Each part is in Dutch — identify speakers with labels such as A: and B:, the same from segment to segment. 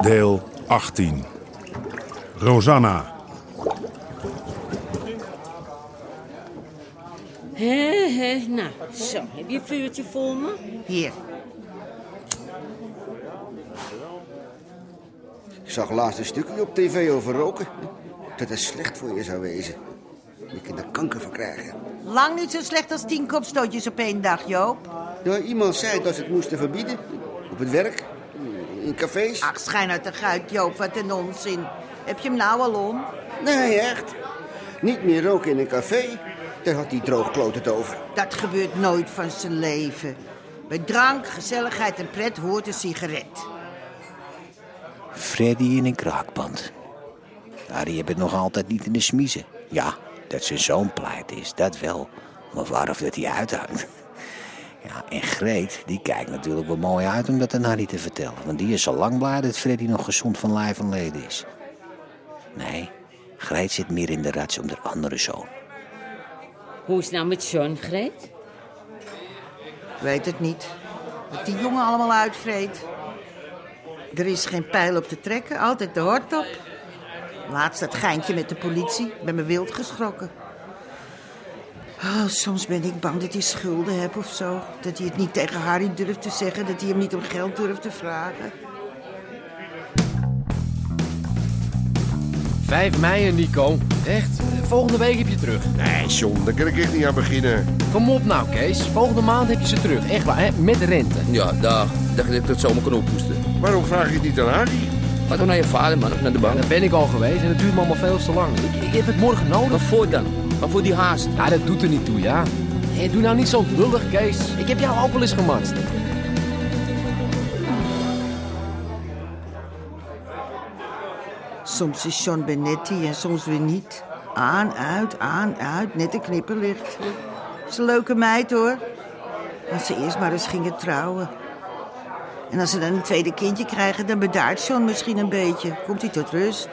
A: Deel 18. Rosanna.
B: Hè, hè, nou, zo, heb je een vuurtje voor me?
C: Hier.
D: Ik zag laatst een stukje op tv over roken. Dat het slecht voor je zou wezen. Je kunt er kanker van krijgen.
C: Lang niet zo slecht als tien kopstootjes op één dag, Joop.
D: Nou, iemand zei dat ze het moesten verbieden. Op het werk, in cafés.
C: Ach, schijn uit de guit, Joop. Wat een onzin. Heb je hem nou al om?
D: Nee, echt. Niet meer roken in een café. Daar had die droogkloot het over.
C: Dat gebeurt nooit van zijn leven. Bij drank, gezelligheid en pret hoort een sigaret.
E: Freddy in een kraakpand. Arie heeft het nog altijd niet in de smiezen. Ja, dat zijn zoon pleit is, dat wel. Maar waarop dat hij uithangt. Ja, en Greet, die kijkt natuurlijk wel mooi uit om dat aan Harry te vertellen. Want die is al lang blij dat Freddy nog gezond van lijf en leden is. Nee, Greet zit meer in de rats om de andere zoon.
B: Hoe is het nou met John, Greet?
C: Ik weet het niet. Wat die jongen allemaal uitvreet. Er is geen pijl op te trekken. Altijd de hort op. Laatst dat geintje met de politie. Ik ben me wild geschrokken. Oh, soms ben ik bang dat hij schulden heeft of zo. Dat hij het niet tegen Harry durft te zeggen. Dat hij hem niet om geld durft te vragen.
F: 5 mei, Nico. Echt? Volgende week heb je terug.
G: Nee, John, daar kan ik echt niet aan beginnen.
F: Kom op nou, Kees. Volgende maand heb je ze terug. Echt waar, hè? Met rente.
H: Ja, dag. Dacht dat ik dat zomaar kon ophoesten.
G: Waarom vraag je het niet aan Harry?
H: Ga toch naar je vader, man, of naar de bank.
F: Daar ben ik al geweest en het duurt me allemaal veel te lang. Ik, ik heb het morgen
H: Wat
F: nodig.
H: voor dan? Wat voor die haast?
F: Ja, dat doet er niet toe, ja. Hé, doe nou niet zo lullig, Kees. Ik heb jou ook wel eens gematst.
C: Soms is John Benetti en soms weer niet. Aan, uit, aan, uit. Net een knipperlicht. Ze leuke meid hoor. Als ze eerst maar eens gingen trouwen. En als ze dan een tweede kindje krijgen, dan bedaart John misschien een beetje. Komt hij tot rust?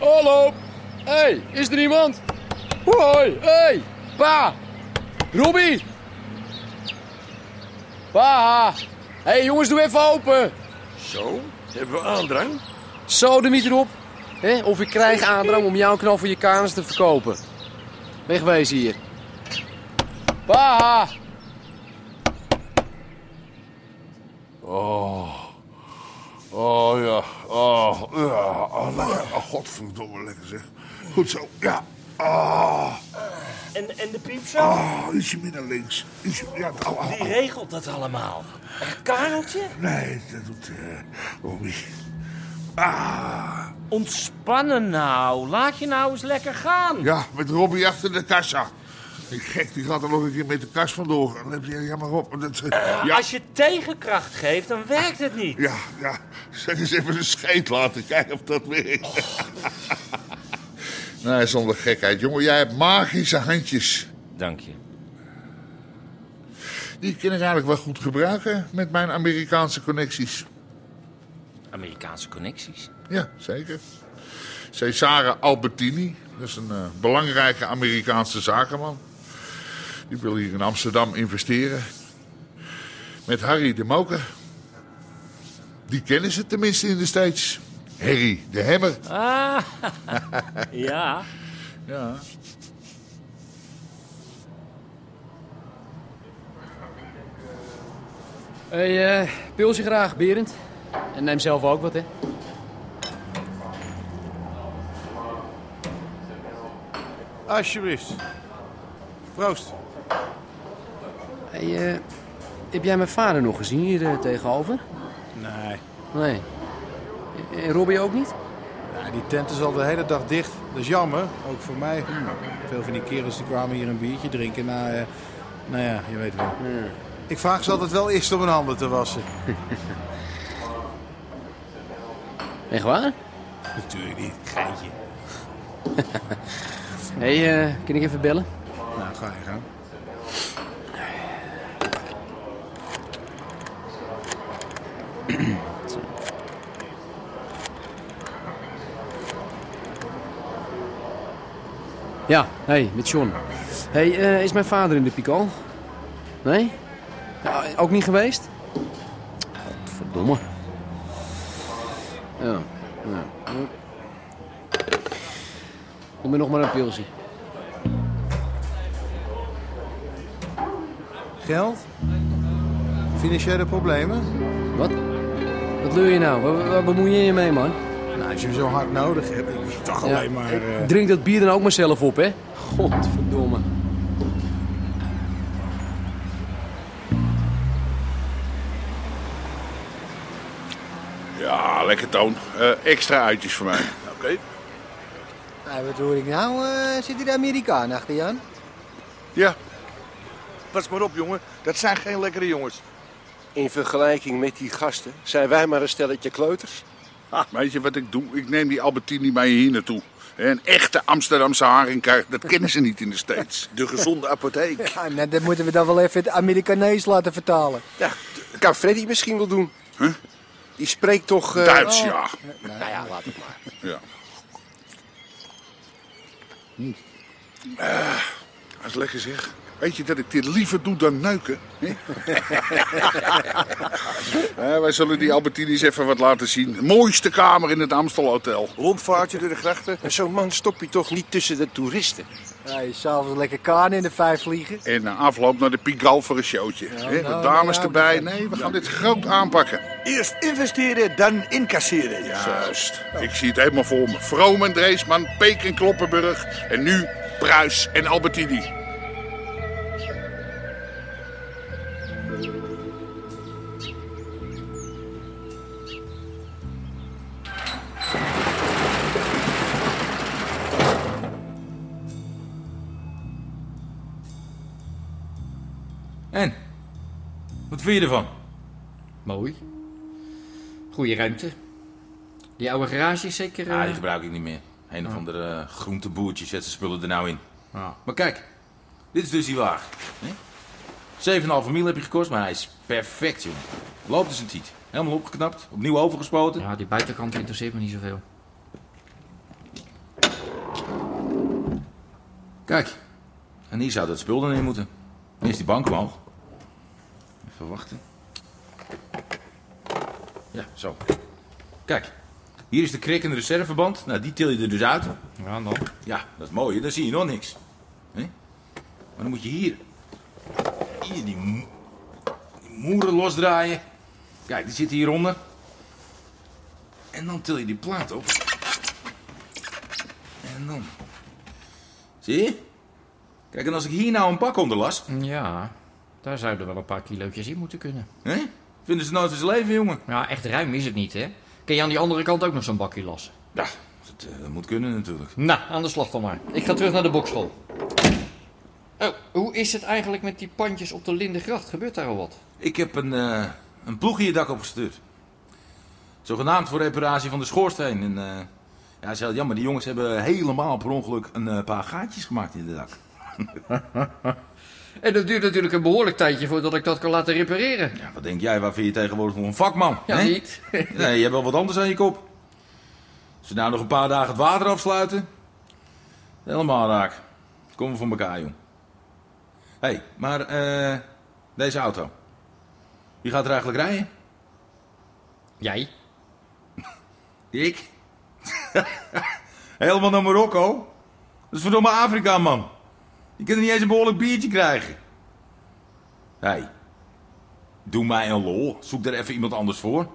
F: Hallo. Hé, hey, is er iemand? Hoi. Hé, hey, pa. Robbie. Pa. Hé, hey, jongens, doe even open.
G: Zo? Hebben we aandrang?
F: Zo, er niet erop. Hè? Of ik krijg aandrang om jouw knal voor je kanus te verkopen. Wegwezen hier. Pa!
G: Oh ja. Oh, ja. Oh, lekker. Oh, godverdomme, lekker zeg. Goed zo. Ja. Ah.
I: En, en de piepshow,
G: Oh, ietsje meer naar links. Ietsje, ja, oh, oh,
I: die
G: oh.
I: regelt dat allemaal. En Kareltje,
G: Nee, dat doet eh Robbie. Ah.
I: ontspannen nou. Laat je nou eens lekker gaan.
G: Ja, met Robbie achter de kassa. Die gek, die gaat er nog een keer met de kas vandoor. Dan heb je, ja, maar op. Dat, eh, ja,
I: Als je tegenkracht geeft, dan werkt het niet.
G: ja, ja. Zeg eens even een scheet laten. Kijken of dat werkt. nee, zonder gekheid. Jongen, jij hebt magische handjes.
I: Dank je.
G: Die kan ik eigenlijk wel goed gebruiken met mijn Amerikaanse connecties.
I: Amerikaanse connecties.
G: Ja, zeker. Cesare Albertini, dat is een eh, belangrijke Amerikaanse zakenman. Die wil hier in Amsterdam investeren. Met Harry de Moker. Die kennen ze tenminste in de States. Harry de Hemmer.
I: Ah, ja.
G: Ja.
F: Hé, eh, pil je graag, Berend. En neem zelf ook wat, hè.
J: Alsjeblieft. Proost.
F: Hé, eh, heb jij mijn vader nog gezien hier eh, tegenover?
J: Nee.
F: Nee. En Robbie ook niet?
J: Ja, die tent is al de hele dag dicht. Dat is jammer, ook voor mij.
G: Hmm.
J: Veel van die kerels die kwamen hier een biertje drinken na... eh, nou ja, je weet wel. Ik vraag ze altijd wel eerst om hun handen te wassen.
F: Echt waar?
J: Natuurlijk niet, geintje.
F: Hé, hey, eh, kan ik even bellen?
J: Nou, ga je gaan.
F: Ja, hé, hey, met John. Hé, hey, eh, is mijn vader in de piek al? Nee? Ja, ook niet geweest? Godverdomme. Ja, ja. Doe me nog maar een pilsie.
J: Geld? Financiële problemen?
F: Wat? Wat doe je nou? Waar, waar bemoei je je mee, man?
J: Nou, als je hem zo hard nodig hebt, ik dacht
F: Ja,
J: alleen maar... eh,
F: Drink dat bier dan ook maar zelf op, hè? Godverdomme.
G: Ja, lekker Toon. Eh, extra uitjes voor mij. Oké.
K: Hey, wat hoor ik nou? Eh, zit hier de Amerikaan achter je aan?
G: Ja. Pas maar op, jongen. Dat zijn geen lekkere jongens.
L: In vergelijking met die gasten zijn wij maar een stelletje kleuters.
G: Weet je wat ik doe? Ik neem die Albertini bij je hier naartoe. Een echte Amsterdamse haringkar, dat kennen ze niet in de States. De gezonde apotheek.
K: Ja, nou, dat moeten we dan wel even het Amerikanees laten vertalen.
L: Ja, kan Freddy misschien wel doen. Die spreekt toch... eh,
G: Duits, oh. ja.
L: Nou ja, laat het maar.
G: Ja. Eh, dat is lekker zeg. Weet je dat ik dit liever doe dan neuken? hè? Eh, wij zullen die Albertinis even wat laten zien. Mooiste kamer in het Amstel Hotel.
L: Rondvaartje door de grachten. Zo'n man stop je toch niet tussen de toeristen.
K: Hey, S'avonds lekker kaan in de vijf vliegen.
G: En na afloop naar de Pigal voor een showtje. hè?
K: nou,
G: de dames
K: nou,
G: erbij. Nee, we gaan dit groot aanpakken.
M: Eerst investeren, dan incasseren.
G: Juist. Ik zie het helemaal voor me. Vroom en Dreesman, Peek en Kloppenburg. En nu Pruis en Albertini.
H: En? Wat vind je ervan?
F: Mooi. Goeie ruimte. Die oude garage is zeker... eh,
H: Ah, die gebruik ik niet meer. Een of ander eh, groenteboertje zet zijn spullen er nou in. Maar kijk, dit is dus die wagen. hè? 7,5 mil heb je gekost, maar hij is perfect, jongen. Loopt dus een tiet. Helemaal opgeknapt, opnieuw overgespoten. Ja, die buitenkant interesseert me niet zoveel. Kijk, en hier zou dat spul dan in moeten. Eerst die bank omhoog. Even wachten. Ja, zo. Kijk, hier is de krik en de reserveband. Nou, die til je er dus uit. Ja, dan. Ja, dat is mooi. hè? Dan zie je nog niks. Hè? Maar dan moet je hier... Hier die, mo- die moeren losdraaien. Kijk, die zitten hieronder. En dan til je die plaat op. En dan... Zie je? Kijk, en als ik hier nou een pak onder las...
N: Ja, daar zouden wel een paar kilootjes in moeten kunnen.
H: Hè? Vinden ze nooit van zijn leven, jongen?
N: Ja, echt ruim is het niet, hè? Kun je aan die andere kant ook nog zo'n bakje lassen?
H: Ja, dat, eh, dat moet kunnen natuurlijk.
N: Nou, aan de slag dan maar. Ik ga terug naar de bokschool. Oh, hoe is het eigenlijk met die pandjes op de Lindengracht? Gebeurt daar al wat?
H: Ik heb een, eh, een ploeg in je dak opgestuurd. Zogenaamd voor reparatie van de schoorsteen. En, eh, ja, dat is heel jammer. Die jongens hebben helemaal per ongeluk een eh, paar gaatjes gemaakt in de dak.
N: En dat duurt natuurlijk een behoorlijk tijdje voordat ik dat kan laten repareren. Ja,
H: Wat denk jij, waar vind je tegenwoordig nog een vakman?
N: Ja,
H: hè?
N: niet.
H: nee, je hebt wel wat anders aan je kop. Als ze nou nog een paar dagen het water afsluiten... Helemaal raak. Komen we voor elkaar, jong. Hé, hey, maar eh, deze auto. Wie gaat er eigenlijk rijden?
N: Jij.
H: Ik? Helemaal naar Marokko? Dat is verdomme Afrika, man. Je kunt er niet eens een behoorlijk biertje krijgen. Hé, hey, doe mij een lol. Zoek daar even iemand anders voor.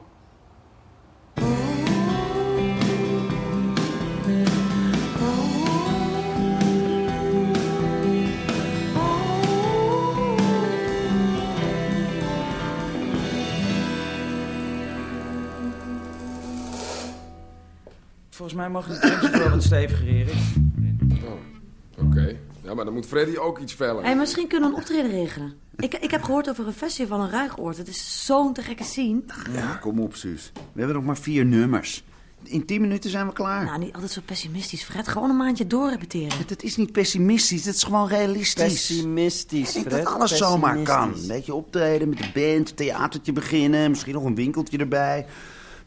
O: Volgens mij mag de tram wel wat steviger, Erik.
P: Oh, oké. Ja, maar dan moet Freddy ook iets vellen.
B: Hey, misschien kunnen we een optreden regelen. Ik, ik heb gehoord over een festival in Ruigoord. Het is zo'n te gekke scene.
E: Ja, kom op, Suus. We hebben nog maar vier nummers. In tien minuten zijn we klaar.
B: Nou, niet altijd zo pessimistisch, Fred. Gewoon een maandje doorrepeteren.
E: Het is niet pessimistisch, het is gewoon realistisch.
O: Pessimistisch,
E: Ik denk
O: Fred.
E: Dat alles zomaar kan.
O: Pessimistisch.
E: Een beetje optreden met de band, theatertje beginnen, misschien nog een winkeltje erbij.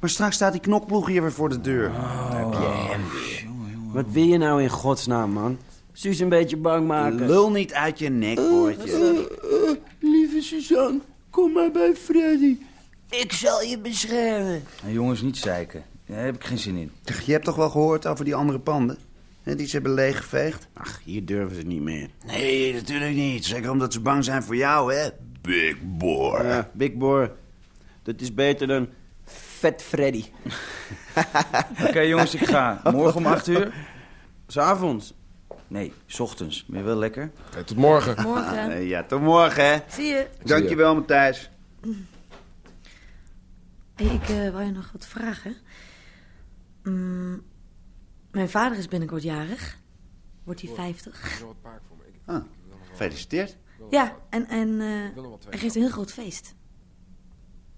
E: Maar straks staat die knokploeg hier weer voor de deur. Heb je hem weer.
O: Wat wil je nou in godsnaam, man? Suus een beetje bang maken.
E: Lul niet uit je nek, boortje.
Q: Lieve Suzanne, kom maar bij Freddy. Ik zal je beschermen.
E: Nou, jongens, niet zeiken. Daar heb ik geen zin in. Je hebt toch wel gehoord over die andere panden? Hè, Die ze hebben leeggeveegd? Ach, hier durven ze niet meer. Nee, natuurlijk niet. Zeker omdat ze bang zijn voor jou, hè? Big boy.
Q: Ja, Big Boy. Dat is beter dan Vet Freddy. Oké jongens, ik ga. Morgen om 8 uur. S'avonds. Nee, s ochtends. Ben je wel lekker?
P: tot morgen.
B: Morgen.
F: Ah,
E: Eh, ja, tot morgen, hè?
B: Zie je?
E: Dankjewel, Matthijs.
B: Hey, ik eh wou je nog wat vragen. Mm, mijn vader is binnenkort jarig. Wordt hij 50.
E: Ah, gefeliciteerd.
B: Ja, en, en eh,
E: wil nog wat twee
B: hij geeft een heel groot feest.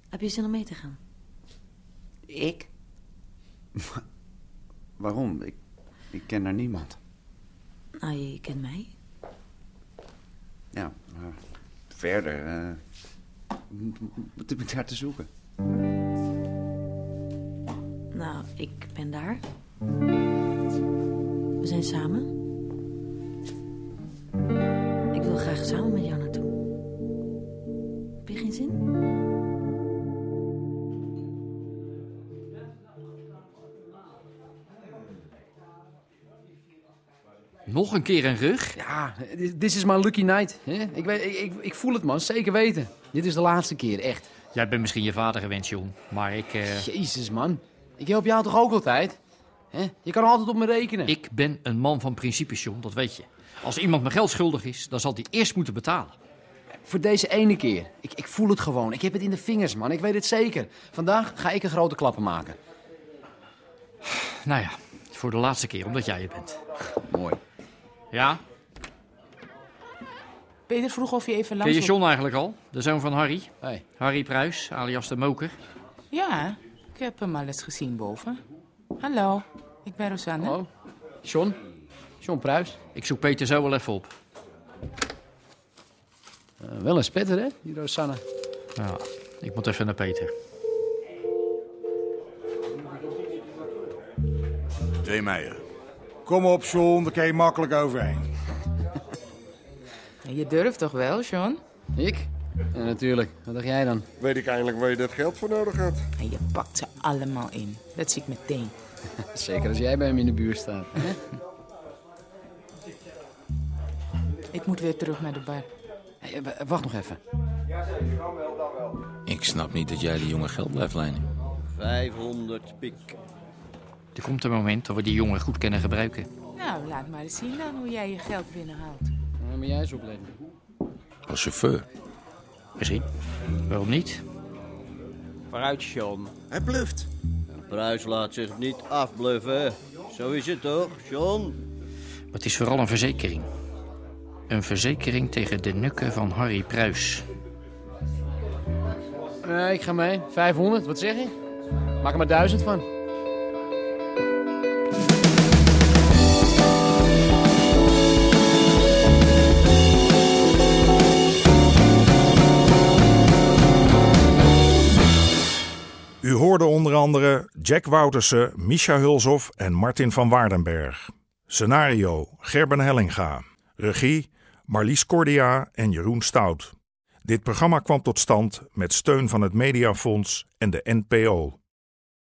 B: Heb je zin om mee te gaan?
E: Ik? Waarom? Ik, ik ken daar niemand.
B: Nou, je, je kent mij.
E: Ja, maar verder... eh, m- m- wat heb ik daar te zoeken?
B: Nou, ik ben daar. We zijn samen. Ik wil graag samen met jou naartoe. Heb je geen zin?
F: Nog een keer een rug? Ja, this is my lucky night. Hè? Ik, weet, ik, ik, ik voel het, man. Zeker weten. Dit is de laatste keer, echt.
G: Jij bent misschien je vader gewend, John. Maar ik... eh,
F: Jezus, man. Ik help jou toch ook altijd? Hè? Je kan altijd op me rekenen.
G: Ik ben een man van principes, John. Dat weet je. Als iemand me geld schuldig is, dan zal die eerst moeten betalen.
F: Voor deze ene keer. Ik, ik voel het gewoon. Ik heb het in de vingers, man. Ik weet het zeker. Vandaag ga ik een grote klappen maken.
G: Nou ja, voor de laatste keer, omdat jij het bent.
E: Mooi.
G: Ja?
C: Peter vroeg of je even
G: Ken
C: langs...
G: je
C: wil-
G: John eigenlijk al? De zoon van Harry? Harry Pruis, alias de moker.
C: Ja, ik heb hem al eens gezien boven. Hallo, ik ben Rosanne.
F: Hallo. John? John Pruis?
G: Ik zoek Peter zo wel even op.
F: Eh, wel een spetter, hè? Die Rosanne.
G: Ja, ik moet even naar Peter.
R: Twee meijer. Kom op, John, daar kan je makkelijk overheen.
C: Je durft toch wel, John?
F: Ik? Ja, natuurlijk. Wat dacht jij dan?
C: Weet ik eindelijk waar je dat geld voor nodig had. En je pakt ze allemaal in. Dat zie ik meteen.
F: Zeker als jij bij hem in de buurt staat. hè?
C: Ik moet weer terug naar de bar. eh,
F: Hey, w- wacht nog even.
H: Ik snap niet dat jij die jongen geld blijft lenen.
C: 500 pik.
G: Er komt een moment dat we die jongen goed kunnen gebruiken.
C: Nou, laat maar eens zien dan hoe jij je geld binnenhaalt.
F: Dan moet jij eens opletten.
H: Als chauffeur.
G: Misschien. Waarom niet?
C: Vooruit, John.
D: Hij bluft. Pruis laat zich niet afbluffen. Zo is het toch, John?
G: Maar het is vooral een verzekering. Een verzekering tegen de nukken van Harry Pruis.
F: Eh, ik ga mee. 500, wat zeg je? Maak er maar 1000 van.
A: U hoorde onder andere Jack Woutersen, Misha Hulshoff en Martin van Waardenberg. Scenario Gerben Hellinga. Regie Marlies Cordia en Jeroen Stout. Dit programma kwam tot stand met steun van het Mediafonds en de NPO.